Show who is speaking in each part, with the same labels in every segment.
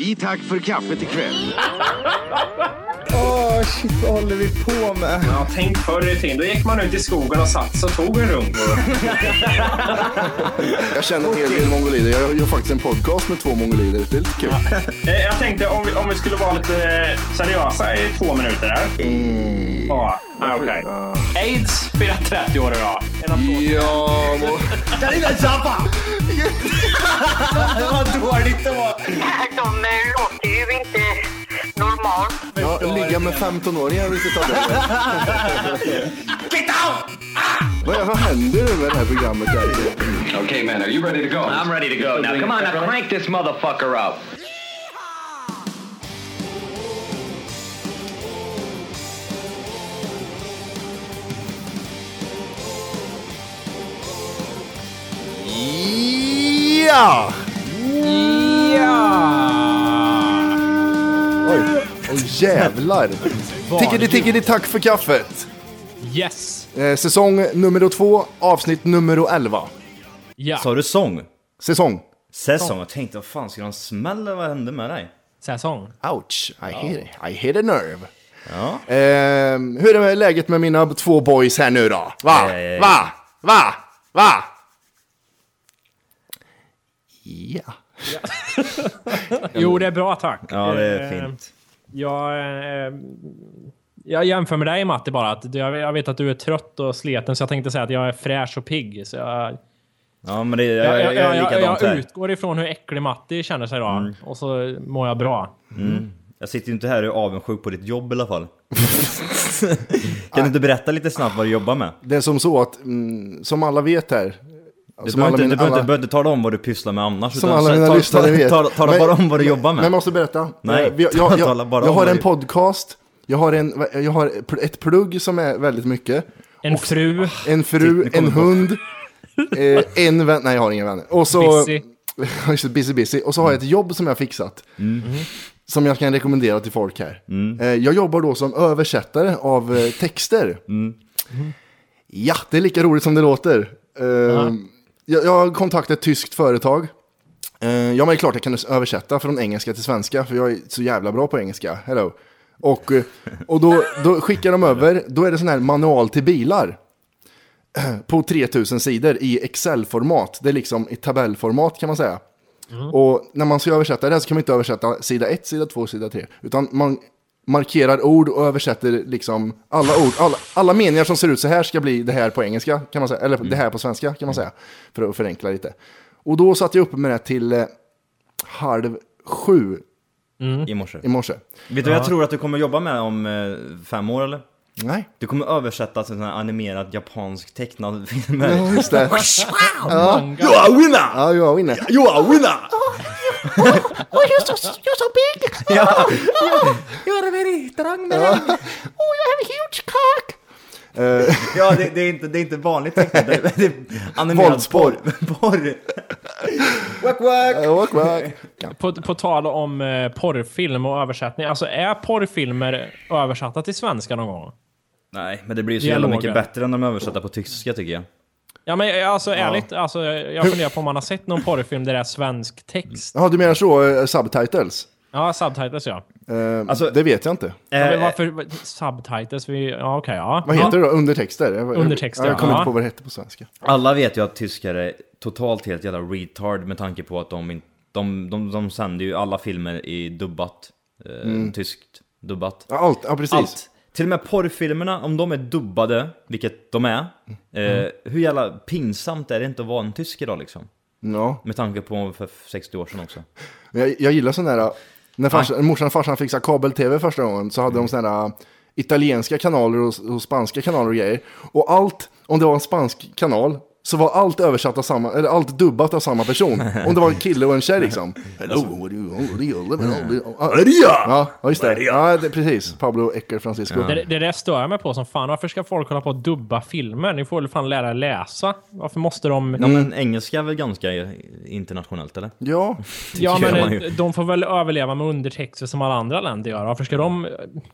Speaker 1: I tack för kaffet ikväll.
Speaker 2: Åh, shit, vad håller vi på med?
Speaker 3: Ja, tänk förr i tiden. Då gick man ut i skogen och satt sig och tog en runk.
Speaker 4: Jag känner en hel del mongolider. Jag gör faktiskt en podcast med två mongolider. Det är lite kul.
Speaker 3: Eh, Jag tänkte om vi, om vi skulle vara lite eh, seriösa i två minuter där.
Speaker 2: Eh.
Speaker 3: Ja, ah, okej. Aids firar 30 år idag. En applåd.
Speaker 4: Ja, må...
Speaker 2: Vad dåligt det var.
Speaker 5: De eh, låter ju inte normalt.
Speaker 4: ja, ligga med 15-åringar vill inte ta det. Get out! Vad, är- vad händer nu med det här programmet? Där?
Speaker 6: Okay, man, are you ready to go? I'm ready to go. Now, come on, now crank this motherfucker up.
Speaker 1: Ja!
Speaker 4: Oj, Åh, jävlar. Tickety, tickety, tack för kaffet.
Speaker 7: Yes!
Speaker 4: Eh, säsong nummer två, avsnitt nummer 11.
Speaker 7: Ja,
Speaker 2: Sa du sång?
Speaker 4: Säsong.
Speaker 2: Säsong? Jag tänkte, vad fan, ska de smälla? Vad hände med dig?
Speaker 7: säsong.
Speaker 4: Ouch, I hit, I hit a nerve. Ehm, hur är läget med mina två boys här nu då? Va?
Speaker 2: Eh.
Speaker 4: Va? Va? Va? Ja.
Speaker 7: Jo, det är bra tack.
Speaker 2: Ja, det är
Speaker 7: Eh,
Speaker 2: fint.
Speaker 7: Jag, eh, jag jämför med dig Matti bara. Att jag, jag vet att du är trött och sliten så jag tänkte säga att jag är fräsch och pigg. Så jag,
Speaker 2: Ja, men det, jag,
Speaker 7: jag,
Speaker 2: jag, jag,
Speaker 7: jag,
Speaker 2: är likadant
Speaker 7: jag,
Speaker 2: här. Mm.
Speaker 7: utgår ifrån hur äcklig Matti känner sig idag. Och så mår jag bra.
Speaker 2: Jag sitter ju inte här och är avundsjuk på ditt jobb i alla fall. kan du inte berätta lite snabbt vad du jobbar med?
Speaker 4: Det är som så att, mm, som alla vet här.
Speaker 2: Du
Speaker 4: som
Speaker 2: behöver inte,
Speaker 4: mina-
Speaker 2: du behöver inte, behöver inte tala om vad du pysslar med annars.
Speaker 4: Som
Speaker 2: utan
Speaker 4: alla
Speaker 2: så-
Speaker 4: mina
Speaker 2: ta-
Speaker 4: lyssnare
Speaker 2: ta-
Speaker 4: vet.
Speaker 2: ta- Tala
Speaker 4: Men-
Speaker 2: bara om vad du jobbar
Speaker 4: Men jag
Speaker 2: med.
Speaker 4: måste berätta.
Speaker 2: Nej,
Speaker 4: Eh, vi- jag, jag,
Speaker 2: tala bara
Speaker 4: jag,
Speaker 2: om
Speaker 4: jag har
Speaker 2: vad
Speaker 4: en
Speaker 2: du-
Speaker 4: podcast, jag har, en, jag har ett plugg som är väldigt mycket,
Speaker 7: En fru.
Speaker 4: en fru, en hund, eh, en vän, nej jag har inga vänner. Och så,
Speaker 7: Busy.
Speaker 4: Just det, busy, busy. Och så har jag ett jobb som jag har fixat. Som jag kan rekommendera till folk här. Eh, Jag jobbar då som översättare av eh, texter. Ja, det är lika roligt som det låter. Eh, Jag, jag har kontaktat ett tyskt företag. Eh, Ja, men det är klart jag kan översätta från engelska till svenska, för jag är så jävla bra på engelska. Hello. Och, eh, och då, då skickar de över, då är det sån här manual till bilar på 3000 sidor i Excel-format. Det är liksom i tabellformat kan man säga. Och när man ska översätta det här så kan man inte översätta sida 1, sida 2, sida 3. Utan man markerar ord och översätter liksom alla ord. Alla, alla meningar som ser ut så här ska bli det här på engelska, kan man säga. Eller det här på svenska, kan man säga. För att förenkla lite. Och då satt jag uppe med det till eh, halv sju
Speaker 2: I morse.
Speaker 4: i morse.
Speaker 2: Vet du vad jag tror att du kommer jobba med om eh, fem år eller?
Speaker 4: Nej.
Speaker 2: Du kommer översätta till sån här animerad japansk tecknad film. här.
Speaker 4: Ja, just det.
Speaker 2: You are winner!
Speaker 4: Ja, jag vinner.
Speaker 2: You are winner! Ja, det, det, är inte, det är inte vanligt tecknat. Det är, det är animerad
Speaker 4: Våldsporr.
Speaker 2: porr. porr. Wack, wack.
Speaker 4: Eh, walk back.
Speaker 7: På, på tal om eh, porrfilm och översättning. Alltså är porrfilmer översatta till svenska någon gång?
Speaker 2: Nej, men det blir ju så jävla
Speaker 7: Dialoger.
Speaker 2: mycket bättre än de översatta på tyska tycker jag.
Speaker 7: Ja men eh, alltså ärligt, alltså, jag jag funderar på om man har sett någon porrfilm där det är svensk text.
Speaker 4: Jaha, du menar så, eh, subtitles?
Speaker 7: Ja, subtitles ja.
Speaker 4: Eh,
Speaker 2: Alltså-
Speaker 4: det vet jag inte.
Speaker 7: ja men
Speaker 2: Eh,
Speaker 7: varför, vad- subtitles? Vi, ja okej, ja.
Speaker 4: Vad heter det då? Undertexter? Jag-
Speaker 7: Undertexter,
Speaker 4: Jag kommer
Speaker 7: ja.
Speaker 4: inte på vad det hette på svenska.
Speaker 2: Alla vet ju att tyskar är totalt helt jävla retard med tanke på att de, in- de, de, de sänder ju alla filmer i dubbat. Eh,
Speaker 7: Mm.
Speaker 2: Tyskt dubbat.
Speaker 4: Ja, Allt, ja precis.
Speaker 2: Allt! Till och med porrfilmerna, om de är dubbade, vilket de är, eh,
Speaker 7: Mm.
Speaker 2: hur jävla pinsamt är det inte att vara en tysk idag liksom?
Speaker 4: Ja.
Speaker 2: Med tanke på för 60 år sedan också.
Speaker 4: Men Jag, jag gillar sådana där, äh, när farsan, morsan och farsan fixade kabel-tv första gången så hade de sådana där äh, italienska kanaler och, och spanska kanaler och grejer. Och allt, om det var en spansk kanal, så var allt översatt av samma, eller allt dubbat av samma person. Om det var en kille och en tjej liksom. Hello, what do you, what do you, Ah, what do you, what do you? Ja, ja, just det. Ja, det, precis. Pablo Ecker Francisco.
Speaker 7: Det, det där stör jag mig på som fan. Varför ska folk hålla på och dubba filmer? Ni får väl fan lära er läsa. Varför måste de...
Speaker 2: Ja men engelska är väl ganska internationellt eller?
Speaker 4: Ja,
Speaker 7: ja,
Speaker 2: det gör man
Speaker 7: men
Speaker 2: ju.
Speaker 7: eh, de får väl överleva med undertexter som alla andra länder gör. Varför ska de...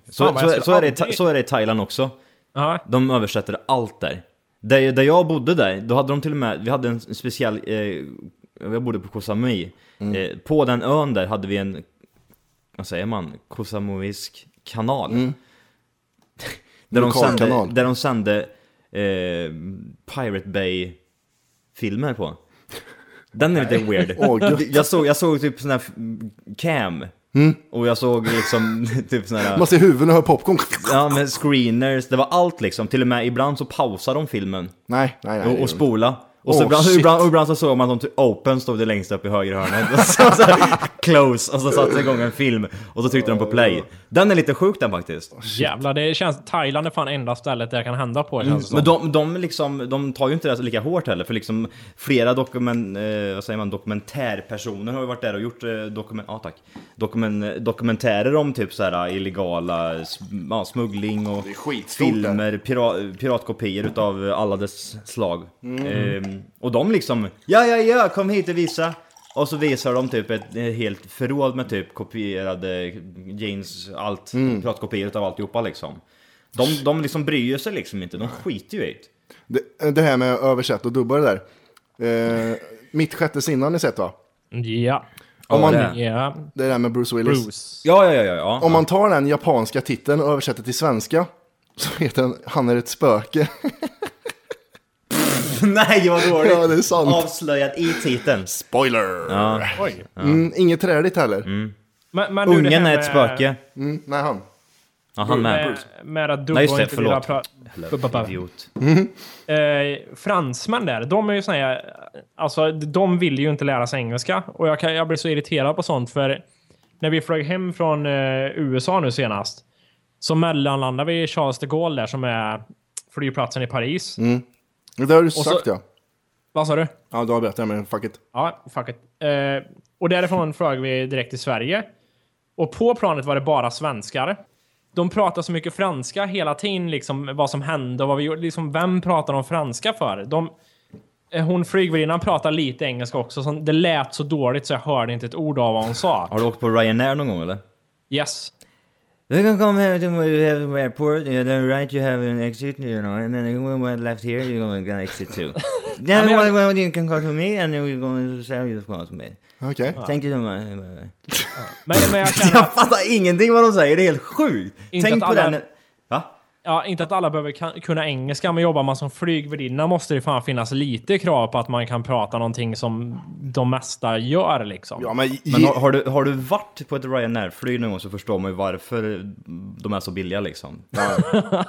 Speaker 2: Så,
Speaker 7: Fan, vad jag
Speaker 2: så,
Speaker 7: skulle
Speaker 2: så, är det, i Tha-
Speaker 7: aldrig-
Speaker 2: så är det i Thailand också.
Speaker 7: Ja,
Speaker 2: De översätter allt där. Där, där jag bodde där, då hade de till och med, vi hade en
Speaker 4: Mm.
Speaker 2: speciell, eh, jag bodde på Koh Samui. Eh, på den ön där hade vi en vad säger man, kosamovisk kanal.
Speaker 4: Mm.
Speaker 2: där, de
Speaker 4: Lokal
Speaker 2: sände,
Speaker 4: kanal.
Speaker 2: där de sände eh, Pirate Bay-filmer på. Den är lite weird.
Speaker 4: Åh, gött.
Speaker 2: jag, såg, jag såg typ sån här cam. Och jag såg liksom typ sån här...
Speaker 4: Mm. Man ser huvuden och hör popcorn.
Speaker 2: Ja, men screeners, det var allt liksom. Till och med ibland så pausade de filmen
Speaker 4: Nej, nej, nej.
Speaker 2: och, och spola. Och så
Speaker 4: Åh,
Speaker 2: ibland,
Speaker 4: shit.
Speaker 2: ibland, och ibland så såg man att de typ open stod det längst upp i höger hörnet. Och så, så här, close, och så satte igång en film. Och så tryckte de på play. Den är lite sjuk den faktiskt.
Speaker 7: Jävlar, det känns... Thailand är fan enda stället det kan hända på, känns det
Speaker 2: Men
Speaker 7: som.
Speaker 2: de, de, liksom, de tar ju inte det så lika hårt heller. För liksom flera dokument, eh, vad säger man, dokumentärpersoner har ju varit där och gjort eh, dokument, ah, tack. Dokumen, dokumentärer om typ så här illegala sm- ja, smuggling och
Speaker 4: skitstort
Speaker 2: filmer, pira, piratkopior utav eh, alla dess slag.
Speaker 4: Mm.
Speaker 2: Ehm, och de liksom, ja ja ja, kom hit och visa! Och så visar de typ ett ett helt förråd med typ kopierade Janes allt,
Speaker 4: Mm.
Speaker 2: piratkopior utav alltihopa liksom. De, de liksom bryr sig liksom inte, de skiter ju i det.
Speaker 4: Det, det här med översätt och dubba det där. Eh, mitt sjätte sinne har ni sett va?
Speaker 7: Ja.
Speaker 4: Om man,
Speaker 2: det.
Speaker 7: Ja.
Speaker 4: det där med Bruce Willis.
Speaker 7: Bruce.
Speaker 2: Ja, ja, ja, ja, ja.
Speaker 4: Om man tar den japanska titeln och översätter till svenska så heter den Han är ett spöke.
Speaker 2: Nej, vad dåligt!
Speaker 4: Ja, det är sant.
Speaker 2: Avslöjad i titeln.
Speaker 4: Spoiler!
Speaker 2: Ja. Mm.
Speaker 7: Oj.
Speaker 4: Mm, inget träligt heller.
Speaker 7: Men, men du, det
Speaker 2: Ungen
Speaker 7: här
Speaker 2: är ett
Speaker 7: med-
Speaker 2: spöke.
Speaker 4: Mm, nej, han.
Speaker 2: Ja, han med.
Speaker 7: Med, med att dubba
Speaker 2: Nej, just
Speaker 7: och
Speaker 2: det,
Speaker 7: inte vilja
Speaker 2: förlåt.
Speaker 7: prata...
Speaker 2: Hello, idiot.
Speaker 7: Eh, fransmän där, de är ju såna här, Alltså, de vill ju inte lära sig engelska. Och jag, kan, jag blir så irriterad på sånt, för när vi flög hem från eh, USA nu senast, så mellanlandade vi i Charles de Gaulle där, som är flygplatsen i Paris.
Speaker 2: Mm.
Speaker 4: Det har du
Speaker 7: så-
Speaker 4: sagt ja.
Speaker 7: Vad sa du?
Speaker 4: Ja, du har berättat men fuck it.
Speaker 7: Ja, fuck it. Eh, och därifrån flög vi direkt till Sverige. Och på planet var det bara svenskar. De pratade så mycket franska hela tiden, liksom vad som hände och vad vi gjorde. Liksom, vem pratar de franska för? De, eh, hon flygvärdinnan pratade lite engelska också, så det lät så dåligt så jag hörde inte ett ord av vad hon sa.
Speaker 2: Har du åkt på Ryanair någon gång eller?
Speaker 7: Yes.
Speaker 2: You can come here to the airport, you then right you have an exit, you know, and then when we left here you're going to exit two. Then
Speaker 7: men-
Speaker 2: when, when you can call to me and then we're going to sell you call to me.
Speaker 4: Okej.
Speaker 2: Thank you so much.
Speaker 7: Men, men Ah. jag känner
Speaker 2: Jag
Speaker 7: att,
Speaker 2: fattar ingenting vad de säger, det är helt sjukt!
Speaker 7: Inte
Speaker 2: Tänk
Speaker 7: att
Speaker 2: på
Speaker 7: alla-
Speaker 2: den... Va?
Speaker 7: ja, inte att alla behöver kan, kunna engelska, men jobbar man som flygvärdinna måste det fan finnas lite krav på att man kan prata någonting som de mesta gör liksom.
Speaker 4: Ja, men,
Speaker 2: Men
Speaker 4: ge-
Speaker 2: har, har, du, har du varit på ett Ryanair-flyg någon gång så förstår man ju varför de är så billiga liksom.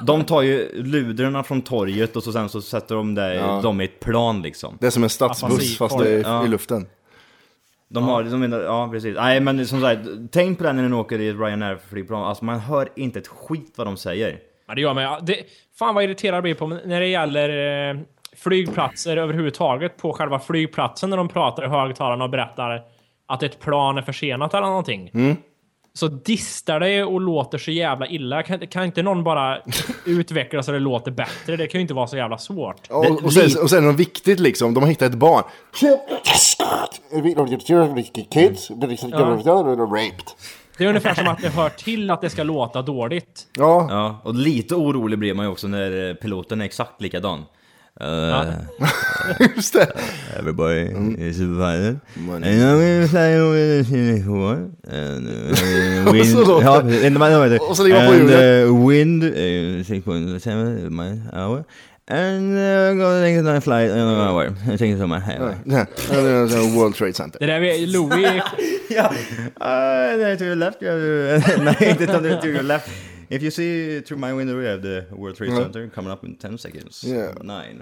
Speaker 2: De tar ju ludrorna från torget och så sen så sätter de där, dem i ett plan liksom.
Speaker 4: Det är som en stadsbuss
Speaker 7: Apati,
Speaker 4: fast det är
Speaker 2: ja.
Speaker 4: i luften.
Speaker 2: De har, de menar, ja precis. Nej men som sagt, tänk på det när ni åker i ett Ryanair-flygplan. Alltså man hör inte ett skit vad de säger.
Speaker 7: Ja, det gör man ja, det, Fan vad irriterad jag blir på när det gäller eh, flygplatser överhuvudtaget. På själva flygplatsen när de pratar i högtalarna och berättar att ett plan är försenat eller någonting. Så distar det och låter så jävla illa. Kan, kan inte någon bara utveckla så det låter bättre? Det kan ju inte vara så jävla svårt.
Speaker 4: Ja, Och, och, sen, och sen är det viktigt liksom, de har hittat ett barn.
Speaker 8: We don't get children, we get kids, but it's like
Speaker 7: Ja.
Speaker 8: they're raped.
Speaker 7: Det är ungefär som att det hör till att det ska låta dåligt.
Speaker 4: Ja,
Speaker 2: Ja, och lite orolig blir man ju också när eh, piloten är exakt likadan. Eh,
Speaker 4: just det.
Speaker 2: Everybody
Speaker 4: Mm.
Speaker 2: is invited. And I'm gonna fly over the unicorn. And uh,
Speaker 4: Och så
Speaker 2: wind...
Speaker 4: låter-
Speaker 2: ja, precis. And, my,
Speaker 4: och så ligger man på
Speaker 2: and
Speaker 4: hjulet.
Speaker 2: uh, wind... Uh, 6.7 miles an hour. And uh, I'm gonna take another flight in an hour. Thank you so much. Hey,
Speaker 4: Det här- det här är World Trade Center.
Speaker 7: Det där vi, Louis...
Speaker 2: yeah. Uh, no, to your left. You have the, no, it's on the- to your left. If you see through my window, you have the World Trade Center coming up in 10 seconds.
Speaker 4: Yeah.
Speaker 2: Nine.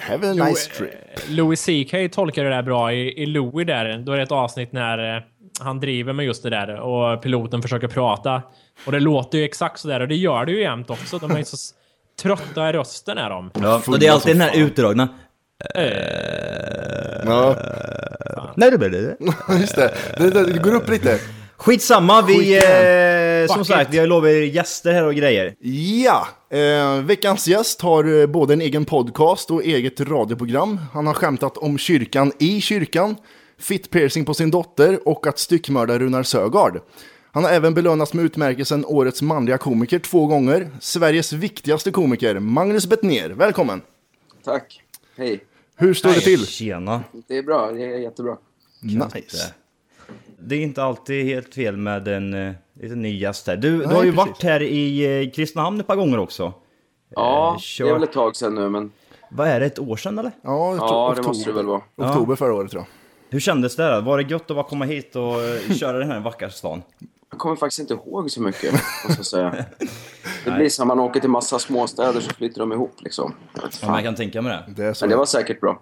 Speaker 4: Have a nice trip.
Speaker 7: Louis CK tolkar det där bra i, i Louis där. Då är det ett avsnitt när eh, han driver med just det där och piloten försöker prata. Och det låter ju exakt sådär och det gör det ju jämt också. De är ju så s- trötta i rösten är de.
Speaker 2: Ja, och det är alltid den här utdragna.
Speaker 4: Ja,
Speaker 2: Nej, det blir det.
Speaker 4: just det. Det, det, det går upp lite.
Speaker 2: Skitsamma, vi...
Speaker 4: Skit
Speaker 2: Eh, som
Speaker 4: Fuck
Speaker 2: sagt,
Speaker 4: it.
Speaker 2: vi har lovat er gäster här och grejer.
Speaker 4: Ja, eh, veckans gäst har eh, både en egen podcast och eget radioprogram. Han har skämtat om kyrkan i kyrkan, fittpiercing på sin dotter och att styckmörda Runar Sögaard. Han har även belönats med utmärkelsen Årets manliga komiker två gånger. Sveriges viktigaste komiker, Magnus Bettner. Välkommen!
Speaker 9: Tack. Hej.
Speaker 4: Hur står det till?
Speaker 2: Tjena.
Speaker 9: Det är
Speaker 2: Eh,
Speaker 9: bra. Det är jättebra.
Speaker 4: Nice.
Speaker 2: Det är inte alltid helt fel med en eh, lite ny gäst här. Du, du har ju
Speaker 4: precis.
Speaker 2: varit här i eh, Kristinehamn ett par gånger också.
Speaker 9: Ja,
Speaker 2: Eh, kör.
Speaker 9: det är väl ett tag sedan nu, men
Speaker 2: Vad är det, ett år sedan eller?
Speaker 4: Ja, jag tror
Speaker 9: ja, det
Speaker 4: oktober,
Speaker 9: måste det väl vara.
Speaker 4: oktober förra året tror jag.
Speaker 2: Hur kändes det? Där? Var det gött att bara komma hit och eh, köra den här vackra stan?
Speaker 9: Jag kommer faktiskt inte ihåg så mycket, måste jag säga. Det blir som man åker till massa småstäder så flyter de ihop liksom. Jag vet
Speaker 2: Ja, men jag
Speaker 9: Fan.
Speaker 2: kan tänka mig det.
Speaker 4: Det, är så.
Speaker 9: Men det var säkert bra.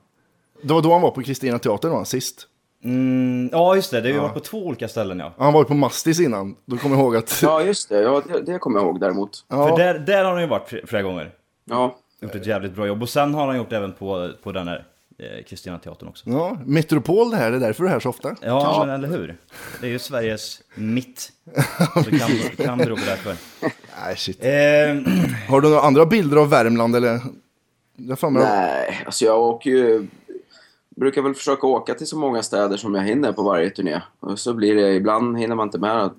Speaker 4: det var då han var på Kristina Teatern va, sist.
Speaker 2: Mm, ja, just det. Det har ju varit på två olika ställen ja.
Speaker 4: Han var ju på Mastis innan, då kommer jag ihåg att...
Speaker 9: Ja, just det. Ja, det, det kommer jag ihåg däremot.
Speaker 2: För
Speaker 4: Ja,
Speaker 2: där, där har han ju varit fl- flera gånger.
Speaker 9: Ja,
Speaker 2: Gjort ett jävligt bra jobb. Och sen har han gjort även på, på den här eh, Kristina Teatern också.
Speaker 4: ja, Metropol det här, det är därför du är här så ofta.
Speaker 2: Ja, men eller hur? Det är ju Sveriges mitt. Så det kan, kan bero på därför.
Speaker 4: Nej, shit.
Speaker 2: Eh,
Speaker 4: Har du några andra bilder av Värmland eller? Jag fan med
Speaker 9: nej, alltså jag åker ju... Brukar väl försöka åka till så många städer som jag hinner på varje turné. Och så blir det, ibland hinner man inte med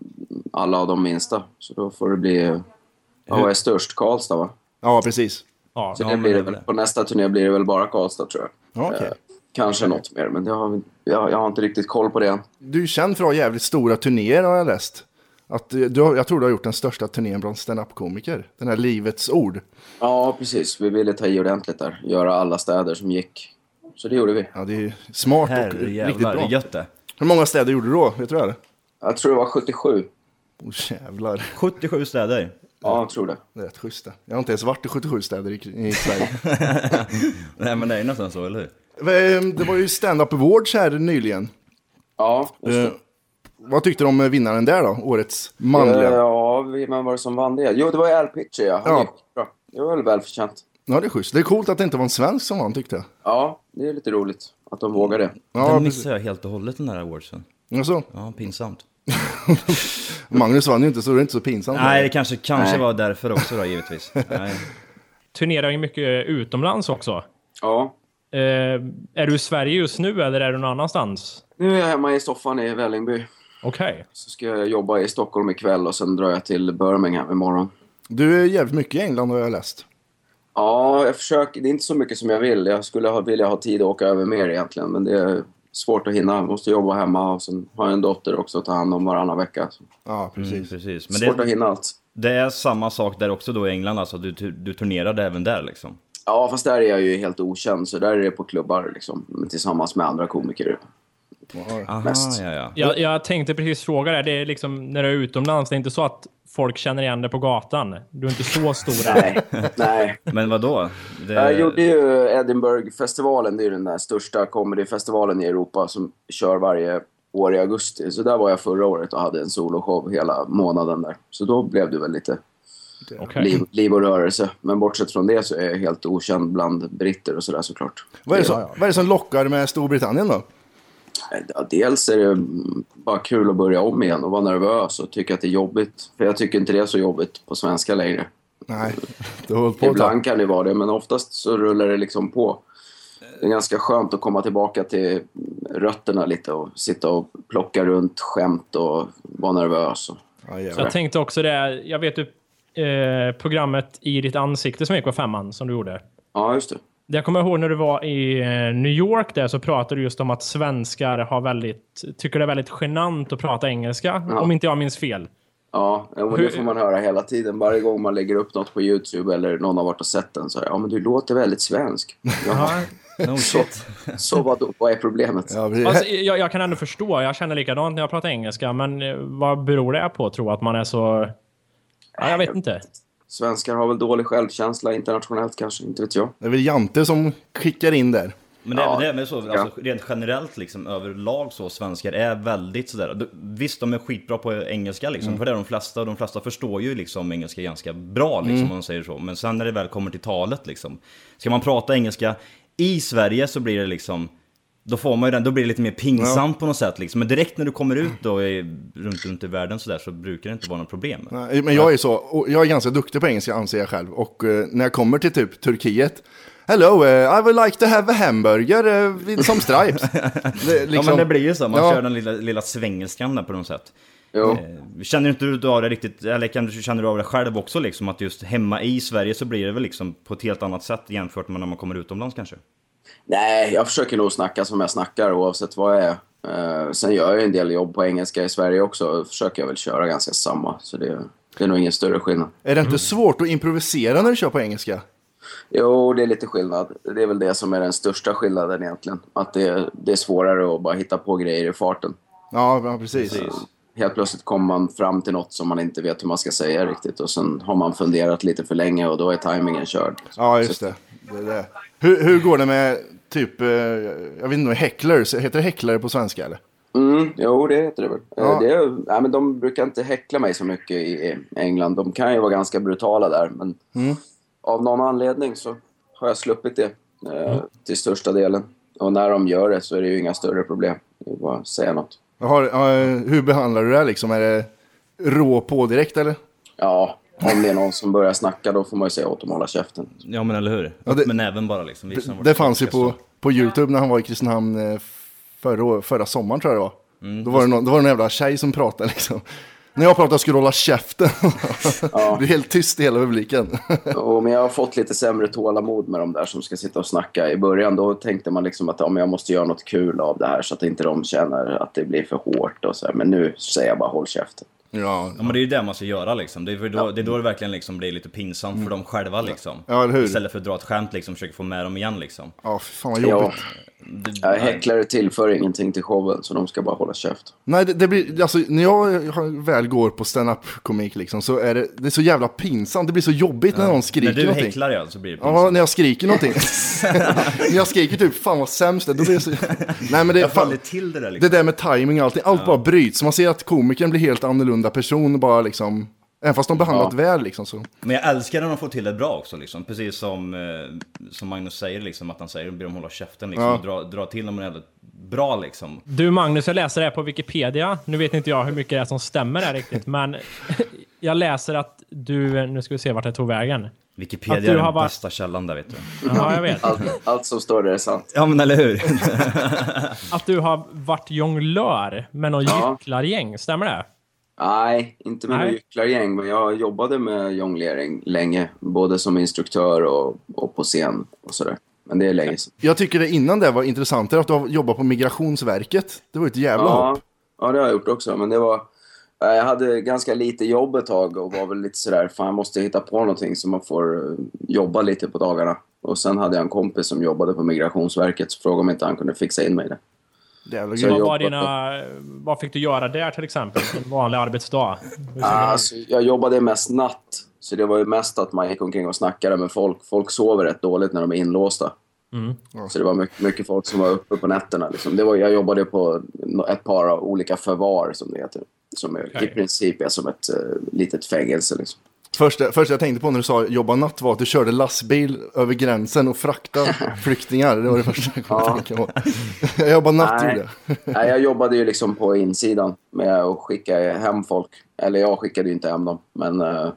Speaker 9: alla av de minsta. Så då får det bli... Ja, vad är störst? Karlstad va?
Speaker 4: Ja, precis.
Speaker 7: Ja,
Speaker 9: Så
Speaker 2: Ja,
Speaker 9: det
Speaker 2: men
Speaker 9: blir
Speaker 2: det
Speaker 9: det
Speaker 2: är
Speaker 9: väl.
Speaker 2: det.
Speaker 9: På nästa turné blir det väl bara Karlstad tror jag.
Speaker 4: Ja, okej.
Speaker 9: Eh, Kanske något mer, men det har, vi- jag, jag har inte riktigt koll på det än.
Speaker 4: Du är ju känd för att ha jävligt stora turnéer har jag läst. Att eh, du, har- jag tror du har gjort den största turnén bland standup-komiker. Den här Livets Ord.
Speaker 9: Ja, precis. Vi ville ta i ordentligt där. Göra alla städer som gick. Så det gjorde vi.
Speaker 4: Ja, det är ju smart och riktigt
Speaker 2: Herrejävlar, det
Speaker 4: bra.
Speaker 2: är gött det.
Speaker 4: Hur många städer gjorde du då? Vet du det?
Speaker 9: Jag tror det var 77.
Speaker 4: Åh jävlar,
Speaker 2: 77 städer.
Speaker 9: Ja, jag tror det.
Speaker 4: det är rätt schysst det. Jag har inte ens varit i 77 städer i, i Sverige.
Speaker 2: Nej men det är ju nästan så, eller hur?
Speaker 4: Ehm, det var ju stand-up awards här nyligen.
Speaker 9: Ja, just det.
Speaker 4: Eh, vad tyckte du om vinnaren där då? Årets manliga?
Speaker 9: Eh, Ja, vem var det som vann det? Jo, det var ju Al Pitcher, ja. Han
Speaker 4: Ja.
Speaker 9: gick bra. Det var väl välförtjänt.
Speaker 4: Ja, det är schysst. Det är coolt att det inte var en svensk som vann tyckte jag.
Speaker 9: Ja, det är lite roligt att de vågar det.
Speaker 4: Ja,
Speaker 2: den
Speaker 4: precis.
Speaker 2: missade jag helt och hållet den där awardsen.
Speaker 4: Alltså,
Speaker 2: Ja, pinsamt.
Speaker 4: Magnus vann ju inte så det är inte så pinsamt.
Speaker 2: Nej, det kanske, kanske
Speaker 9: Nej.
Speaker 2: var därför också då givetvis. Nej.
Speaker 7: Turnerar ju mycket utomlands också.
Speaker 9: Ja.
Speaker 7: Eh, är du i Sverige just nu eller är du någon annanstans?
Speaker 9: Nu är jag hemma i soffan i Vällingby.
Speaker 7: Okej.
Speaker 9: Så ska jag jobba i Stockholm ikväll och sen drar jag till Birmingham imorgon.
Speaker 4: Du är jävligt mycket i England har jag läst.
Speaker 9: Ja, jag försöker. Det är inte så mycket som jag vill. Jag skulle ha, vilja ha tid att åka över mer egentligen, men det är svårt att hinna. Jag måste jobba hemma och sen har jag en dotter också att ta hand om varannan vecka. Så
Speaker 4: Ja, precis.
Speaker 2: Mm, precis. Men
Speaker 9: svårt att
Speaker 2: det,
Speaker 9: hinna allt.
Speaker 2: det är samma sak där också då i England alltså. Du, tu- du turnerade även där liksom.
Speaker 9: Ja, fast där är jag ju helt okänd, så där är det på klubbar liksom, men tillsammans med andra komiker.
Speaker 2: Aha,
Speaker 9: Mest.
Speaker 2: ja, ja.
Speaker 7: Jag, jag tänkte precis fråga det. Det är liksom när du är utomlands, det är inte så att folk känner igen dig på gatan. Du är inte så stor. där.
Speaker 9: Nej, nej.
Speaker 2: Men vadå? Det,
Speaker 9: Jag gjorde ju Edinburghfestivalen, det är ju den där största comedyfestivalen i Europa som kör varje år i augusti. Så där var jag förra året och hade en soloshow hela månaden där. Så då blev det väl lite
Speaker 7: Okej.
Speaker 9: liv, liv och rörelse. Men bortsett från det så är jag helt okänd bland britter och sådär såklart.
Speaker 4: Vad, är det som, vad är det som lockar med Storbritannien då?
Speaker 9: Ja, Dels är det mm, bara kul att börja om igen och vara nervös och tycka att det är jobbigt. För jag tycker inte det är så jobbigt på svenska längre.
Speaker 4: Nej, det har hållit på ett tag.
Speaker 9: Ibland kan det vara det, men oftast så rullar det liksom på. Det är ganska skönt att komma tillbaka till rötterna lite och sitta och plocka runt skämt och vara nervös. Och...
Speaker 4: Ja, jävlar.
Speaker 7: Jag tänkte också det. Jag vet ju eh, programmet I ditt ansikte som gick på femman som du gjorde.
Speaker 9: Ja, just det.
Speaker 7: Det Jag kommer ihåg när du var i eh, New York där så pratade du just om att svenskar har väldigt, tycker det är väldigt genant att prata engelska. Om inte jag minns fel.
Speaker 9: Ja, jo, men det får man höra hela tiden. Varje gång man lägger upp något på Youtube eller någon har varit och sett den så här, ja men du låter väldigt svensk. Jaha,
Speaker 2: No shit.
Speaker 9: så vad, vad är problemet?
Speaker 4: Ja, precis.
Speaker 7: Alltså, jag, jag kan ändå förstå. Jag känner likadant när jag pratar engelska. Men eh, vad beror det på tror jag, att man är så... Ja, jag vet inte.
Speaker 9: Svenskar har väl dålig självkänsla internationellt kanske, inte vet jag.
Speaker 4: Det är väl Jante som skickar in där.
Speaker 2: Men det är
Speaker 9: Ja,
Speaker 2: väl det med så,
Speaker 9: ja.
Speaker 2: alltså, rent generellt liksom överlag så, svenskar är väldigt sådär. d- Visst, de är skitbra på engelska liksom, för det är de flesta, och de flesta förstår ju liksom engelska ganska bra liksom, om man säger så. Men sen när det väl kommer till talet liksom, ska man prata engelska i Sverige så blir det liksom, då får man ju den, då blir det lite mer pinsamt på något sätt liksom. Men direkt när du kommer ut då i, runt, runt i världen sådär så brukar det inte vara något problem.
Speaker 4: Nej, Men jag är så, och jag är ganska duktig på engelska anser jag själv. Och eh, när jag kommer till typ Turkiet, Hello, eh, I would like to have a hamburger eh, with some stripes. Det, är liksom-
Speaker 2: Ja men det blir ju så, man
Speaker 4: Ja.
Speaker 2: kör den lilla, lilla svängelskan där på något sätt.
Speaker 9: Jo.
Speaker 2: Eh, Känner inte du av det riktigt, eller kan, du- känner du av det själv också liksom? Att just hemma i Sverige så blir det väl liksom på ett helt annat sätt jämfört med när man kommer utomlands kanske?
Speaker 9: Nej, jag försöker nog snacka som jag snackar oavsett vad jag är. Eh, sen gör jag en del jobb på engelska i Sverige också. och försöker jag väl köra ganska samma. Så det, det är nog ingen större skillnad.
Speaker 4: Är det inte svårt att improvisera när du kör på engelska?
Speaker 9: Jo, det är lite skillnad. Det är väl det som är den största skillnaden egentligen. Att det, det är svårare att bara hitta på grejer i farten.
Speaker 4: Ja, ja, precis.
Speaker 9: Helt plötsligt kommer man fram till något som man inte vet hur man ska säga riktigt. Och sen har man funderat lite för länge och då är tajmingen körd.
Speaker 4: Ja, just det. det, är det. Hur, hur går det med typ, eh, jag vet inte, häcklers? Heter det häcklare på svenska eller?
Speaker 9: Mm, jo, det heter det väl.
Speaker 4: Ja.
Speaker 9: Eh, Det är, nej, men de brukar inte häckla mig så mycket i England. De kan ju vara ganska brutala där, men
Speaker 4: Mm.
Speaker 9: av någon anledning så har jag sluppit det
Speaker 4: Mm.
Speaker 9: eh, till största delen. Och när de gör det så är det ju inga större problem. Det är bara att säga något.
Speaker 4: Har, eh, hur behandlar du det här liksom? Är det rå pådirekt eller?
Speaker 9: Ja, om det är någon som börjar snacka då får man ju säga åt dem att hålla käften.
Speaker 2: Ja men eller hur?
Speaker 4: Ja, det-
Speaker 2: Men även bara liksom. Visa
Speaker 4: Det,
Speaker 2: vart
Speaker 4: det fanns ju
Speaker 2: ska stå.
Speaker 4: på, på YouTube när han var i Kristinehamn eh, förra, år- förra sommaren tror jag det var. Då, var det någon, då var det någon jävla tjej som pratade liksom. När jag pratade skulle du hålla käften. Det blev helt tyst i hela publiken.
Speaker 9: Och, men jag har fått lite sämre tålamod med de där som ska sitta och snacka. I början då tänkte man liksom att ja, men jag måste göra något kul av det här så att inte de känner att det blir för hårt. Och så här. Men nu säger jag bara håll käften.
Speaker 4: ja,
Speaker 2: Ja men det är ju det man ska göra liksom. Det är, för då, det, är då det verkligen liksom blir lite pinsamt för dem själva liksom.
Speaker 4: Mm. Ja, eller hur?
Speaker 2: Istället för att dra ett skämt liksom, försöka få med dem igen liksom.
Speaker 4: ja fy fan vad
Speaker 9: Ja,
Speaker 4: jobbigt.
Speaker 2: Det-
Speaker 9: ja, häcklare tillför ingenting till showen så de ska bara hålla käft.
Speaker 4: Nej, det, det blir, alltså, när jag har- väl går på stand-up-komik liksom, så är det, det är så jävla pinsamt. Det blir så jobbigt när någon skriker
Speaker 2: När du
Speaker 4: någonting.
Speaker 2: häcklar liksom. ja, så blir det pinsamt.
Speaker 4: Ja, när jag skriker någonting. när jag skriker typ fan vad sämst det är, då blir det så... Nej men det är
Speaker 2: jag faller
Speaker 4: fan...
Speaker 2: till det där
Speaker 4: Det
Speaker 2: liksom.
Speaker 4: där med timing och allting, allt bara bryts. Man ser att komikern blir helt annorlunda person bara liksom. Även fast de behandlat väl liksom så.
Speaker 2: Men jag älskar när de får till det bra också liksom. Precis som, eh, som Magnus säger liksom, att han säger att de hålla käften liksom.
Speaker 4: Ja.
Speaker 2: Och dra, dra till dem jävligt bra liksom.
Speaker 7: Du Magnus, jag läser det här på Wikipedia. Nu vet inte jag hur mycket det är som stämmer där riktigt, men jag läser att du... Nu ska vi se vart jag tog vägen.
Speaker 2: Wikipedia
Speaker 7: Att du
Speaker 2: är den
Speaker 7: har varit-
Speaker 2: bästa källan där vet du.
Speaker 7: Ja, jag vet.
Speaker 9: Allt, allt som står där är sant.
Speaker 2: Ja men eller hur?
Speaker 7: Att du har varit jonglör med någon
Speaker 9: Ja.
Speaker 7: gycklargäng, stämmer det?
Speaker 9: Nej, inte med
Speaker 7: Nej.
Speaker 9: några gycklargäng, men jag jobbade med jonglering länge. Både som instruktör och, och på scen och sådär. Men det är länge sedan.
Speaker 4: Jag tycker det innan det var intressantare att du har jobbat på Migrationsverket. Det var ju ett jävla hopp.
Speaker 9: Ja, det har jag gjort också. Men det var... eh, Jag hade ganska lite jobb ett tag och var väl lite sådär, fan jag måste hitta på någonting så man får eh, jobba lite på dagarna. Och sen hade jag en kompis som jobbade på Migrationsverket så frågade om inte han kunde fixa in mig där.
Speaker 4: Det jävla
Speaker 9: Så
Speaker 4: grymt.
Speaker 7: Vad, var
Speaker 9: jobbat
Speaker 7: dina, vad fick du göra där till exempel? En vanlig arbetsdag?
Speaker 9: Alltså, jag jobbade mest natt, så det var ju mest att man gick omkring och snackade med folk. Folk sover rätt dåligt när de är inlåsta. Så det var mycket, mycket folk som var uppe på nätterna. Liksom. Det var, jag jobbade på no- ett par av olika förvar, som det heter. Som är- i
Speaker 7: Okej.
Speaker 9: princip är som ett eh, litet fängelse. Liksom.
Speaker 4: Första, första jag tänkte på när du sa jobba natt var att du körde lastbil över gränsen och fraktade flyktingar. Det var det första jag kom att tänka på. jag jobbade natt gjorde
Speaker 9: Nej.
Speaker 4: jag.
Speaker 9: Nej, jag jobbade ju liksom på insidan med att skicka hem folk. Eller jag skickade ju inte hem dem, men eh,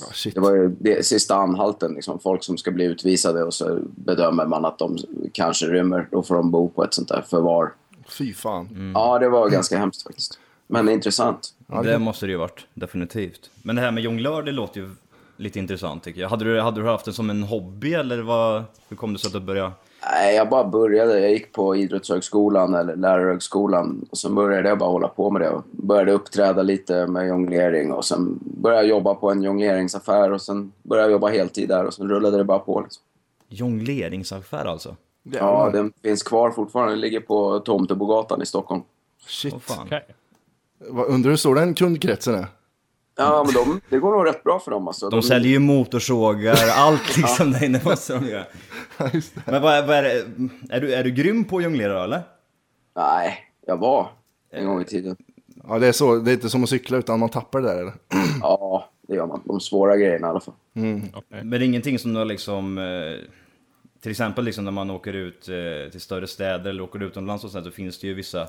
Speaker 4: Ja, shit.
Speaker 9: det var ju det, sista anhalten. Liksom. Folk som ska bli utvisade och så bedömer man att de kanske rymmer. Då får de bo på ett sånt där förvar.
Speaker 4: Fy fan.
Speaker 2: Mm.
Speaker 9: Ja, det var ganska hemskt faktiskt. Men det är intressant.
Speaker 2: Det måste det ju varit, definitivt. Men det här med jonglör, det låter ju lite intressant tycker jag. Hade du, hade du haft det som en hobby eller vad, hur kom det sig att du började?
Speaker 9: Nej, jag bara började. Jag gick på idrottshögskolan eller lärarhögskolan. Och sen började jag bara hålla på med det. Och började uppträda lite med jonglering. Och sen började jag jobba på en jongleringsaffär. Och sen började jag jobba heltid där. Och sen rullade det bara på. Liksom.
Speaker 2: Jongleringsaffär alltså?
Speaker 9: Ja, den finns kvar fortfarande. Den ligger på Tomtebogatan i Stockholm.
Speaker 4: Shit.
Speaker 2: Åh fan.
Speaker 7: Okej.
Speaker 4: Vad- Undrar hur stor den kundkretsen är.
Speaker 9: Ja, men de, det går nog rätt bra för dem. Alltså.
Speaker 2: De säljer ju motorsågar, allt liksom där inne måste de göra. Men vad, är- vad är det, är du, är du grym på att jonglera eller?
Speaker 9: Nej, jag var en gång i tiden.
Speaker 4: Ja, det, är så, det är inte som att cykla utan man tappar det där eller?
Speaker 9: Ja, det gör man. De svåra grejerna i alla fall.
Speaker 2: Men det är ingenting som du har liksom... eh, Till exempel liksom när man åker ut eh, till större städer eller åker utomlands och sånt så finns det ju vissa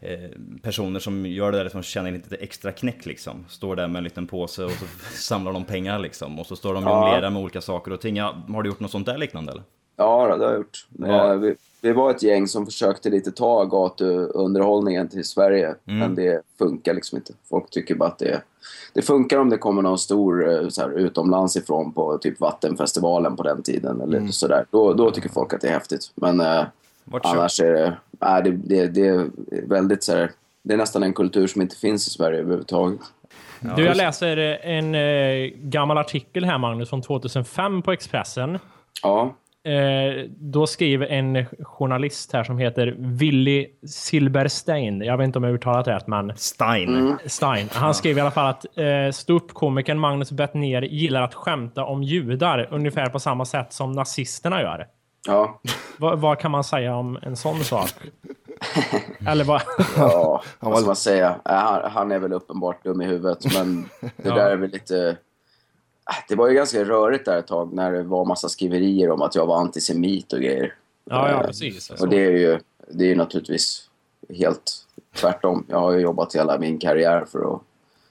Speaker 2: eh, personer som gör det där som känner lite extra knäck liksom. Står där med en liten påse och så samlar de pengar liksom. Och så står de och
Speaker 9: Ja.
Speaker 2: jonglerar med olika saker och ting. Ja, har du gjort något sånt där liknande eller?
Speaker 9: Ja, det har jag gjort.
Speaker 2: Ja.
Speaker 9: Eh, Vi, vi var ett gäng som försökte lite ta gatuunderhållningen till Sverige, men det funkar liksom inte. Folk tycker bara att det... Det funkar om det kommer någon stor eh, så här, utomlands ifrån Mm. på typ Vattenfestivalen på den tiden eller sådär. Då, då tycker folk att det är häftigt. Men eh,
Speaker 2: Vart kör?
Speaker 9: Annars är det, nej, det, det, det är väldigt så här, det är nästan en kultur som inte finns i Sverige överhuvudtaget.
Speaker 7: Du, jag läser en eh, gammal artikel här, Magnus, från 2005 på Expressen.
Speaker 9: Ja,
Speaker 7: Eh, då skriver en journalist här som heter Willy Silberstein. Jag vet inte om jag uttalat rätt, men
Speaker 2: Stein.
Speaker 7: Stein. Han skriver i alla fall att eh, ståuppkomikern Magnus Bettner gillar att skämta om judar ungefär på samma sätt som nazisterna gör.
Speaker 9: ja,
Speaker 7: Vad- vad kan man säga om en sån sak? Eller vad?
Speaker 9: ja. vad ska man säga? Nej, Han, han är väl uppenbart dum i huvudet, men det där är väl lite... äh, Det var ju ganska rörigt där ett tag när det var massa skriverier om att jag var antisemit och grejer.
Speaker 7: Ja, ja, precis.
Speaker 9: Och det är ju det är ju naturligtvis helt tvärtom. Jag har ju jobbat hela min karriär för att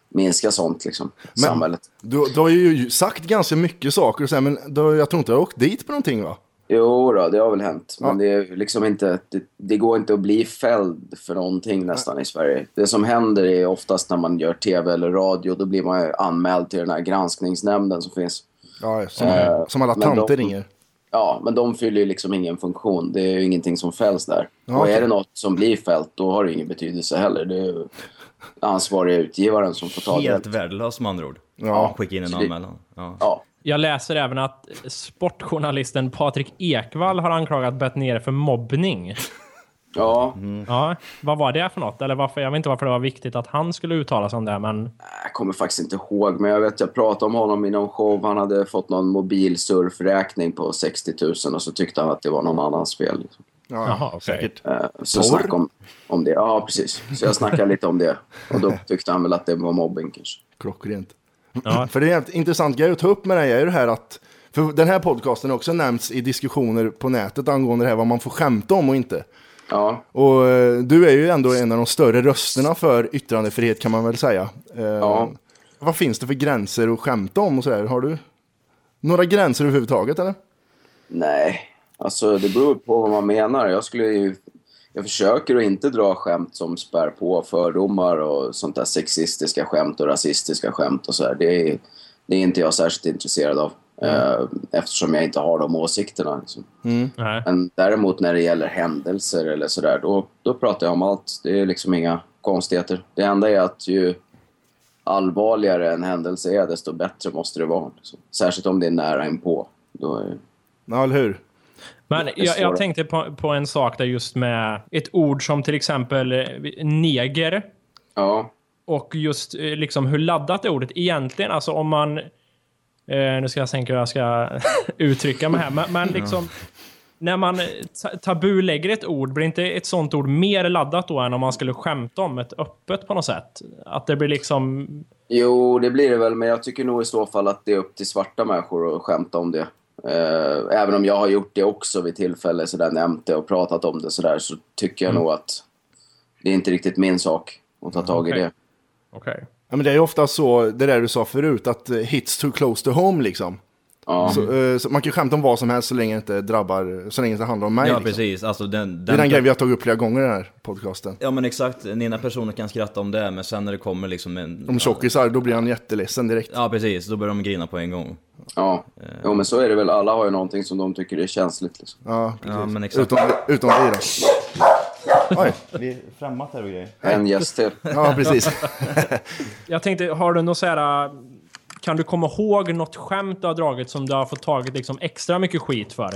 Speaker 9: minska sånt liksom, i
Speaker 4: Men-
Speaker 9: samhället.
Speaker 4: Du, du har ju sagt ganska mycket saker och så här, men du, jag tror inte du har åkt dit på någonting va?
Speaker 9: Jo då, det har väl hänt. Men
Speaker 4: Ja.
Speaker 9: det, är ju liksom inte, det, det går inte att bli fälld för någonting nästan i Sverige. Det som händer är oftast när man gör tv eller radio, då blir man ju anmäld till den här granskningsnämnden som finns.
Speaker 4: Ja, som,
Speaker 9: Eh,
Speaker 4: som alla
Speaker 9: men de-
Speaker 4: tanter ringer.
Speaker 9: Ja, men de fyller ju liksom ingen funktion. Det är ju ingenting som fälls där.
Speaker 4: Ja,
Speaker 9: och är
Speaker 4: okej.
Speaker 9: det något som blir fällt, då har det ingen betydelse heller. Det är ju ansvariga utgivaren som får ta
Speaker 2: Helt
Speaker 9: det.
Speaker 2: värdelös med andra ord.
Speaker 4: Ja.
Speaker 2: Skicka in en
Speaker 9: Så det-
Speaker 2: anmälan. Ja.
Speaker 9: Ja,
Speaker 7: Jag läser även att sportjournalisten Patrik Ekwall har anklagat Bettner för mobbning.
Speaker 9: ja.
Speaker 7: Ja, vad var det för något? Eller varför, jag vet inte varför det var viktigt att han skulle uttala sig om det, men
Speaker 9: Jag kommer faktiskt inte ihåg, men jag vet att jag pratade om honom i någon show. Han hade fått någon mobilsurfräkning på 60 000 och så tyckte han att det var någon annans fel. Liksom.
Speaker 4: Ja,
Speaker 7: jaha, okej.
Speaker 4: säkert.
Speaker 9: Eh, Så
Speaker 4: Porr?
Speaker 9: snackade om, om det. Ja, precis. Så jag snackade lite om det. Och då tyckte han väl att det var mobbing kanske.
Speaker 4: Klockrent.
Speaker 7: Ja.
Speaker 4: För det är en intressant grej att ta upp med det här är det här att för den här podcasten har också nämnts i diskussioner på nätet angående det här vad man får skämta om och inte.
Speaker 9: Ja,
Speaker 4: Och eh, du är ju ändå en av de större rösterna för yttrandefrihet kan man väl säga. Eh,
Speaker 9: Ja.
Speaker 4: Vad finns det för gränser att skämta om och sådär? Har du några gränser överhuvudtaget eller?
Speaker 9: nej. Alltså, det beror på vad man menar. Jag skulle ju... Jag försöker att inte dra skämt som spär på fördomar och sånt där sexistiska skämt och rasistiska skämt och så här. Det är, det är inte jag särskilt intresserad av. eh, Eftersom jag inte har de åsikterna. Liksom.
Speaker 7: Nej.
Speaker 9: Men däremot när det gäller händelser eller sådär, då, då pratar jag om allt. Det är liksom inga konstigheter. Det enda är att ju allvarligare en händelse är, desto bättre måste det vara. Liksom. Särskilt om det är nära inpå. Då är...
Speaker 4: Ja, eller hur?
Speaker 7: Men jag, jag tänkte på, på en sak där just med ett ord som till exempel eh, neger
Speaker 9: Ja,
Speaker 7: och just eh, liksom hur laddat det ordet egentligen, alltså om man... Eh, nu ska jag tänka hur jag ska uttrycka mig här, men, men liksom... När man eh, ta- tabulägger ett ord, blir inte ett sånt ord mer laddat då än om man skulle skämta om ett öppet på något sätt? Att det blir liksom...
Speaker 9: Jo, det blir det väl, men jag tycker nog i så fall att det är upp till svarta människor att skämta om det. Eh, även om jag har gjort det också vid tillfälle, så där nämnt det och pratat om det så där, så tycker jag nog att det är inte riktigt min sak att ta tag i
Speaker 7: okej.
Speaker 9: det.
Speaker 7: Okej.
Speaker 4: Ja, men det är ju ofta så, det där du sa förut, att eh, hits too close to home liksom.
Speaker 9: Ja.
Speaker 4: Så, eh, så man kan skämta om vad som helst så länge det inte drabbar, så länge det inte handlar om mig.
Speaker 2: Ja
Speaker 4: liksom.
Speaker 2: precis, alltså den...
Speaker 4: Det är den grejen vi har tagit upp flera gånger i den här podcasten.
Speaker 2: Ja men exakt, den ena personen kan skratta om det men sen när det kommer liksom en...
Speaker 4: Om tjockisar, då blir han jätteledsen direkt.
Speaker 2: Ja precis, då börjar de grina på en gång.
Speaker 9: Ja, jo, men så är det väl. Alla har ju någonting som de tycker är känsligt. Liksom.
Speaker 4: Ja, precis.
Speaker 2: Ja men exakt.
Speaker 4: Utom, utom vi då. Oj,
Speaker 2: Vi är framåt här och grejer.
Speaker 9: En gäst till.
Speaker 4: ja precis.
Speaker 7: Jag tänkte, har du något så här... Kan du komma ihåg något skämt du har dragit som du har fått tagit liksom extra mycket skit för?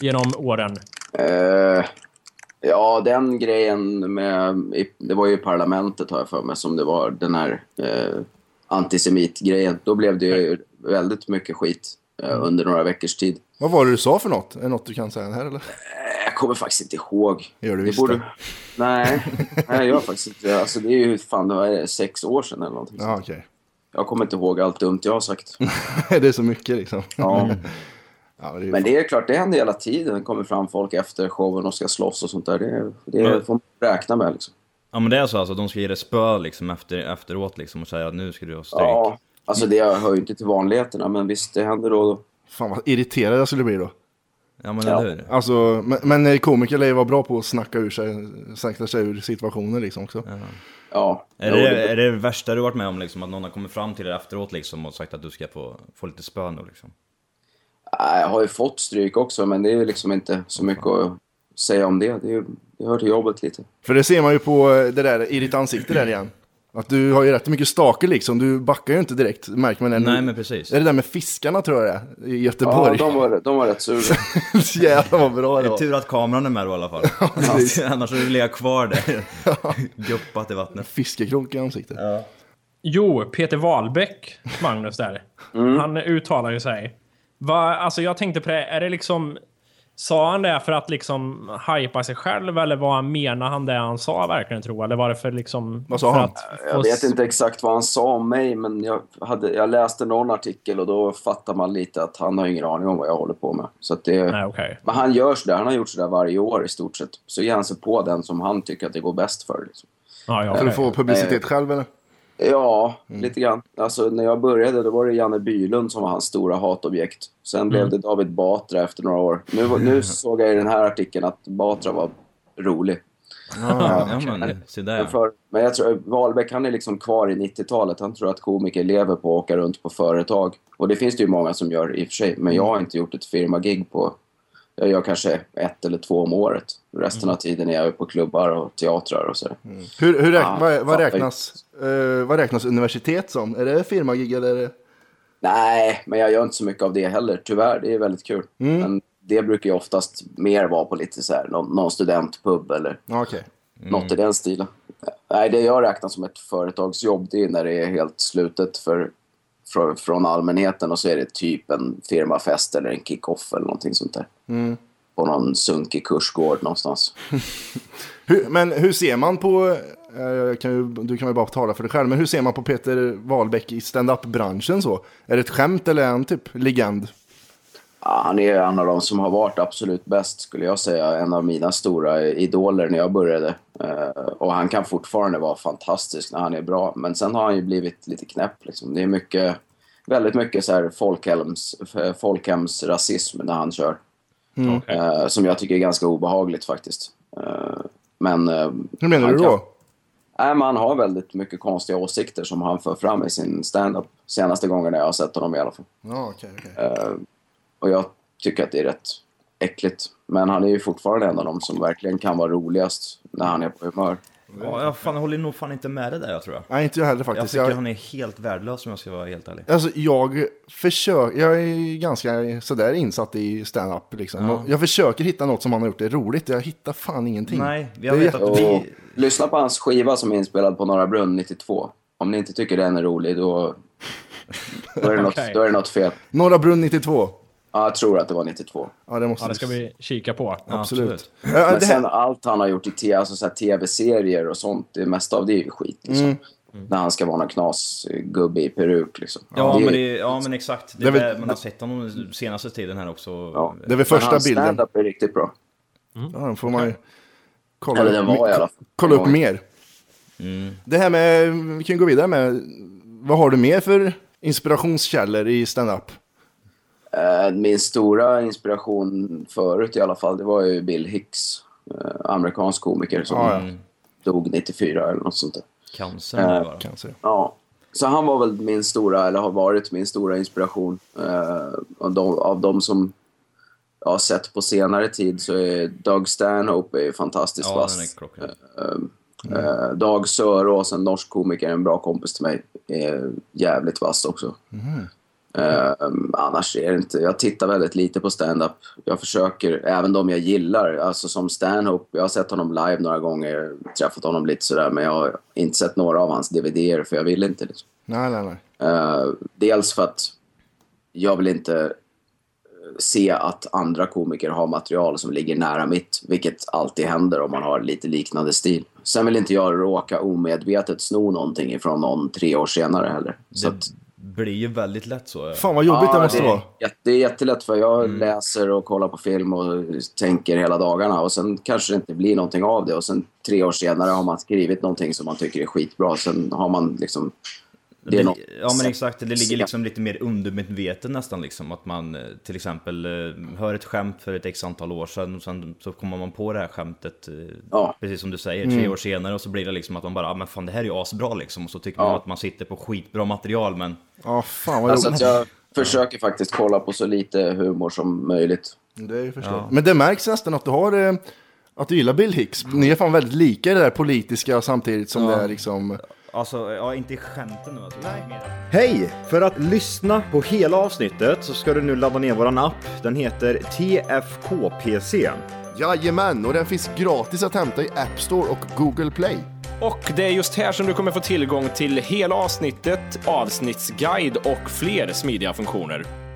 Speaker 7: Genom åren?
Speaker 9: Eh, ja, den grejen med... i- Det var ju i parlamentet, har jag för mig, som det var den här eh, antisemitgrejen. Då blev det ju väldigt mycket skit eh,
Speaker 4: Mm.
Speaker 9: under några veckors tid.
Speaker 4: Vad var det du sa för något? Är det något du kan säga här eller?
Speaker 9: Eh, Jag kommer faktiskt inte ihåg.
Speaker 4: Gör du visst det.
Speaker 9: Nej, nej, jag har faktiskt inte... Alltså, det är ju fan det var sex år sedan eller någonting.
Speaker 4: Ja, okej.
Speaker 9: Jag kommer inte ihåg allt dumt jag har sagt.
Speaker 4: det är så mycket liksom.
Speaker 9: Ja.
Speaker 4: Ja, men det är ju
Speaker 9: Men det är klart, det händer hela tiden. Det kommer fram folk efter showen och ska slåss och sånt där. Det, det
Speaker 2: Mm.
Speaker 9: får man räkna med. Liksom.
Speaker 2: Ja men det är så alltså, de ska ge dig spö liksom efter, efteråt liksom och säga att nu ska du ha stryk.
Speaker 9: Ja, alltså det hör ju inte till vanligheterna, men visst, det händer då. och då.
Speaker 4: Fan vad irriterad jag skulle bli då.
Speaker 2: Ja men
Speaker 9: Ja.
Speaker 2: eller hur?
Speaker 4: Alltså, men, men komiker lär ju vara bra på att snacka ur sig, snacka sig ur situationer liksom också.
Speaker 9: Ja,
Speaker 2: Är
Speaker 9: Jo,
Speaker 2: det, är det värsta du varit med om liksom, att någon har kommit fram till dig efteråt liksom och sagt att du ska få, få lite spö nu liksom?
Speaker 9: Nej, jag har ju fått stryk också, men det är ju liksom inte så mycket att säga om det? Det, är ju, det hör till jobbet lite.
Speaker 4: För det ser man ju på eh, det där i ditt ansikte där igen. Att du har ju rätt mycket staker liksom. Du backar ju inte direkt, märker man. det nu.
Speaker 2: Nej, men precis.
Speaker 4: Det är det där med fiskarna tror jag det är, i
Speaker 9: Ja,
Speaker 4: Göteborg.
Speaker 9: de var, Typ- de var rätt sura.
Speaker 4: Jävlar vad bra det
Speaker 2: Det är
Speaker 4: var.
Speaker 2: tur att kameran är med då i alla fall.
Speaker 4: precis.
Speaker 2: Annars hade du legat kvar där. Guppat i vattnet.
Speaker 4: Fiskekrok i ansiktet.
Speaker 7: Jo, Peter Wahlbeck, Magnus där.
Speaker 4: Mm.
Speaker 7: Han uttalar ju sig. Va, alltså jag tänkte på det, är det liksom... Sa han det för att liksom hypa sig själv eller vad menar han det han sa verkligen tro? Eller var det för liksom...
Speaker 4: Vad sa
Speaker 7: för
Speaker 4: han?
Speaker 7: att
Speaker 9: Jag
Speaker 7: få
Speaker 9: vet
Speaker 7: s-
Speaker 9: inte exakt vad han sa om mig, men jag, hade, jag läste någon artikel och då fattar man lite att han har ingen aning om vad jag håller på med. Så att det,
Speaker 7: Nej, okej.
Speaker 9: Men han gör sådär, han har gjort sådär varje år i stort sett. Så ger han sig på den som han tycker att det går bäst för. Liksom.
Speaker 7: Ja, ja,
Speaker 4: För
Speaker 7: okej.
Speaker 4: att få publicitet själv eller?
Speaker 9: Ja, lite grann. Alltså, när jag började då var det Janne Bylund som var hans stora hatobjekt. Sen blev det David Batra efter några år. Nu, var- nu såg jag i den här artikeln att Batra var rolig.
Speaker 2: Ja, men se där.
Speaker 9: Men, för, men jag tror Wahlbeck han är liksom kvar i 90-talet. Han tror att komiker lever på att åka runt på företag. Och det finns det ju många som gör i och för sig. Men jag har inte gjort ett firmagig på... Jag gör kanske ett eller två om året. Resten av tiden är jag ju på klubbar och teatrar och sådär.
Speaker 4: Hur, hur räk-
Speaker 9: Ja,
Speaker 4: vad, vad,
Speaker 9: fattar ju.
Speaker 4: räknas, eh, vad räknas universitet som? Är det firmagig eller? Är det...
Speaker 9: Nej, men jag gör inte så mycket av det heller. Tyvärr, det är väldigt kul. Men det brukar ju oftast mer vara på lite så här, någon, någon studentpub eller
Speaker 4: Ja, okej.
Speaker 9: något i den stilen. Nej, det jag räknar som ett företagsjobb det är när det är helt slutet för, från, från allmänheten och så är det typ en firmafest eller en kick-off eller någonting sånt där. På någon sunkig kursgård någonstans.
Speaker 4: Hur, men hur ser man på, eh, jag kan ju, du kan väl bara tala för dig själv, men hur ser man på Peter Wahlbeck i stand-up-branschen så? Är det ett skämt eller är han typ legend?
Speaker 9: Ja, han är en av de som har varit absolut bäst, skulle jag säga. En av mina stora idoler när jag började. Eh, Och han kan fortfarande vara fantastisk när han är bra. Men sen har han ju blivit lite knäpp. Liksom. Det är mycket, väldigt mycket så här folkhems, folkhemsrasism när han kör.
Speaker 4: Mm.
Speaker 9: Eh, Som jag tycker är ganska obehagligt faktiskt. Eh, Men... eh,
Speaker 4: Hur menar
Speaker 9: han
Speaker 4: du
Speaker 9: kan-
Speaker 4: då?
Speaker 9: Nej, men han har väldigt mycket konstiga åsikter som han för fram i sin stand-up. Senaste gången jag har sett honom i alla fall.
Speaker 4: Ja, okej, okej.
Speaker 9: Och jag tycker att det är rätt äckligt. Men han är ju fortfarande en av de som verkligen kan vara roligast när han är på humör.
Speaker 2: Ja, jag fan, håller nog fan inte med det där jag tror jag.
Speaker 4: Nej, inte jag heller
Speaker 2: Jag
Speaker 4: faktiskt.
Speaker 2: tycker
Speaker 4: Jag,
Speaker 2: han är helt värdelös om jag ska vara helt ärlig.
Speaker 4: Alltså jag försöker, jag är ganska sådär insatt i stand-up liksom. Och Jag försöker hitta något som han har gjort det är roligt, jag hittar fan ingenting.
Speaker 2: Nej, jag
Speaker 4: Det är
Speaker 2: vet att
Speaker 9: Och
Speaker 2: vi...
Speaker 9: lyssna på hans skiva som är inspelad på Norra Brunn 92. Om ni inte tycker den är rolig, då, då, är, det något,
Speaker 7: Okej.
Speaker 9: då är det något fel.
Speaker 4: Norra Brunn 92.
Speaker 9: Ja, jag tror att det var 92.
Speaker 4: Ja, det måste
Speaker 7: Ja, det ska vi kika på.
Speaker 4: Absolut. Ja,
Speaker 9: Men
Speaker 4: det här,
Speaker 9: sen allt han har gjort i te- alltså så här tv-serier och sånt, det mesta av det är ju skit. Liksom.
Speaker 4: Mm.
Speaker 9: När han ska vara någon knasgubbe i peruk. Liksom.
Speaker 2: Mm. Ja,
Speaker 9: är-
Speaker 2: men, det, ja men exakt.
Speaker 4: Det
Speaker 2: Det är
Speaker 4: är väl-
Speaker 2: det man har sett honom den senaste tiden här också.
Speaker 9: Ja.
Speaker 4: det är väl
Speaker 9: Men
Speaker 4: första
Speaker 9: hans
Speaker 4: bilden.
Speaker 9: stand-up är riktigt bra.
Speaker 4: Ja, den får man ju kolla,
Speaker 9: Eller den var i alla fall.
Speaker 4: kolla upp
Speaker 9: Ja.
Speaker 4: mer. Det här med, vi kan ju gå vidare med, vad har du mer för inspirationskällor i stand-up?
Speaker 9: Eh, Min stora inspiration förut i alla fall, det var ju Bill Hicks. eh, Amerikansk komiker som
Speaker 4: Ja,
Speaker 2: Mm.
Speaker 9: dog 94 eller något sånt där.
Speaker 2: Cancer äh, bara.
Speaker 4: Kanske.
Speaker 9: Ja. Så han var väl min stora, eller har varit min stora inspiration. Eh, av, de, av de som jag har sett på senare tid så är Doug Stanhope är ju fantastiskt
Speaker 2: Ja,
Speaker 9: vass.
Speaker 2: den är klockren.
Speaker 9: Eh, Dag Sörås, en norsk komiker, en bra kompis till mig, är jävligt vass också. Eh, annars är det inte... Jag tittar väldigt lite på stand-up. Jag försöker, även de jag gillar, alltså som Stanhope, jag har sett honom live några gånger, träffat honom lite sådär, men jag har inte sett några av hans DVD-er för jag vill inte. Liksom.
Speaker 4: Nej, nej, nej.
Speaker 9: Eh, dels för att jag vill inte eh, se att andra komiker har material som ligger nära mitt, vilket alltid händer om man har lite liknande stil. Sen vill inte jag råka omedvetet sno någonting ifrån någon tre år senare heller. Så att,
Speaker 2: Blir ju väldigt lätt så.
Speaker 4: Fan vad jobbigt det
Speaker 9: Ja,
Speaker 4: måste
Speaker 9: det,
Speaker 4: vara.
Speaker 9: är jätte- det är jättelätt för jag läser och kollar på film och tänker hela dagarna och sen kanske det inte blir någonting av det och sen tre år senare har man skrivit någonting som man tycker är skitbra. Sen har man liksom... Det är något
Speaker 2: Ja men exakt, det ligger liksom lite mer undermedvetet nästan liksom. Att man eh, till exempel eh, hör ett skämt för ett x antal år sedan och sen så kommer man på det här skämtet, eh,
Speaker 9: Ja.
Speaker 2: precis som du säger, tre år senare och så blir det liksom att man bara ah, men fan det här är ju asbra liksom. Och så tycker man att man sitter på skitbra material men
Speaker 4: Ja, fan vad
Speaker 9: Alltså att
Speaker 4: jobbigt.
Speaker 9: jag försöker faktiskt kolla på så lite humor som möjligt.
Speaker 4: Det är ju förstås. Men det märks nästan att du har... eh, Att du gillar Bill Hicks. Ni är fan väldigt lika i det där politiska samtidigt som det är liksom...
Speaker 10: Alltså, ja inte i skämten nu alltså. Nej.
Speaker 2: Hej! För att lyssna på hela avsnittet så ska du nu ladda ner våran app. Den heter TFKPC.
Speaker 4: Jajamän, och den finns gratis att hämta i App Store och Google Play.
Speaker 3: Och det är just här som du kommer få tillgång till hela avsnittet, avsnittsguide och fler smidiga funktioner.